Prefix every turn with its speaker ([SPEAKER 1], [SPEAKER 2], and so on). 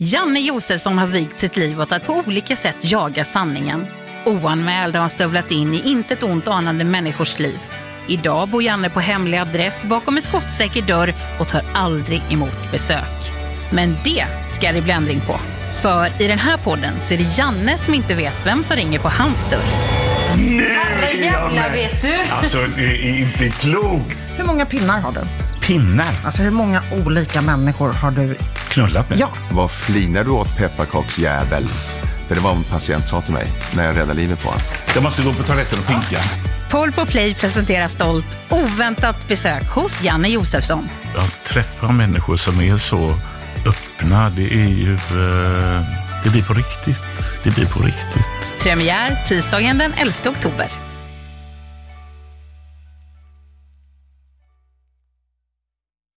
[SPEAKER 1] Janne Josefsson har vigt sitt liv åt att på olika sätt jaga sanningen. Oanmäld har han stövlat in i intet ont anande människors liv. Idag bor Janne på hemlig adress bakom en skottsäker dörr och tar aldrig emot besök. Men det ska det bli ändring på. För i den här podden så är det Janne som inte vet vem som ringer på hans dörr.
[SPEAKER 2] Nu jävlar vet du.
[SPEAKER 3] Alltså, det är inte klokt.
[SPEAKER 4] Hur många pinnar har du?
[SPEAKER 3] Pinnar.
[SPEAKER 4] Alltså hur många olika människor har du?
[SPEAKER 3] Knullat med.
[SPEAKER 4] Ja,
[SPEAKER 5] Vad flinar du åt pepparkaksjävel? För det var vad en patient sa till mig när jag räddade livet på honom.
[SPEAKER 3] Jag måste gå på toaletten och finka.
[SPEAKER 1] Paul på Play presenterar stolt oväntat besök hos Janne Josefsson.
[SPEAKER 6] att träffa människor som är så öppna, det är ju... eh, Det blir på riktigt. Det blir på riktigt.
[SPEAKER 1] Premiär tisdagen den 11 oktober.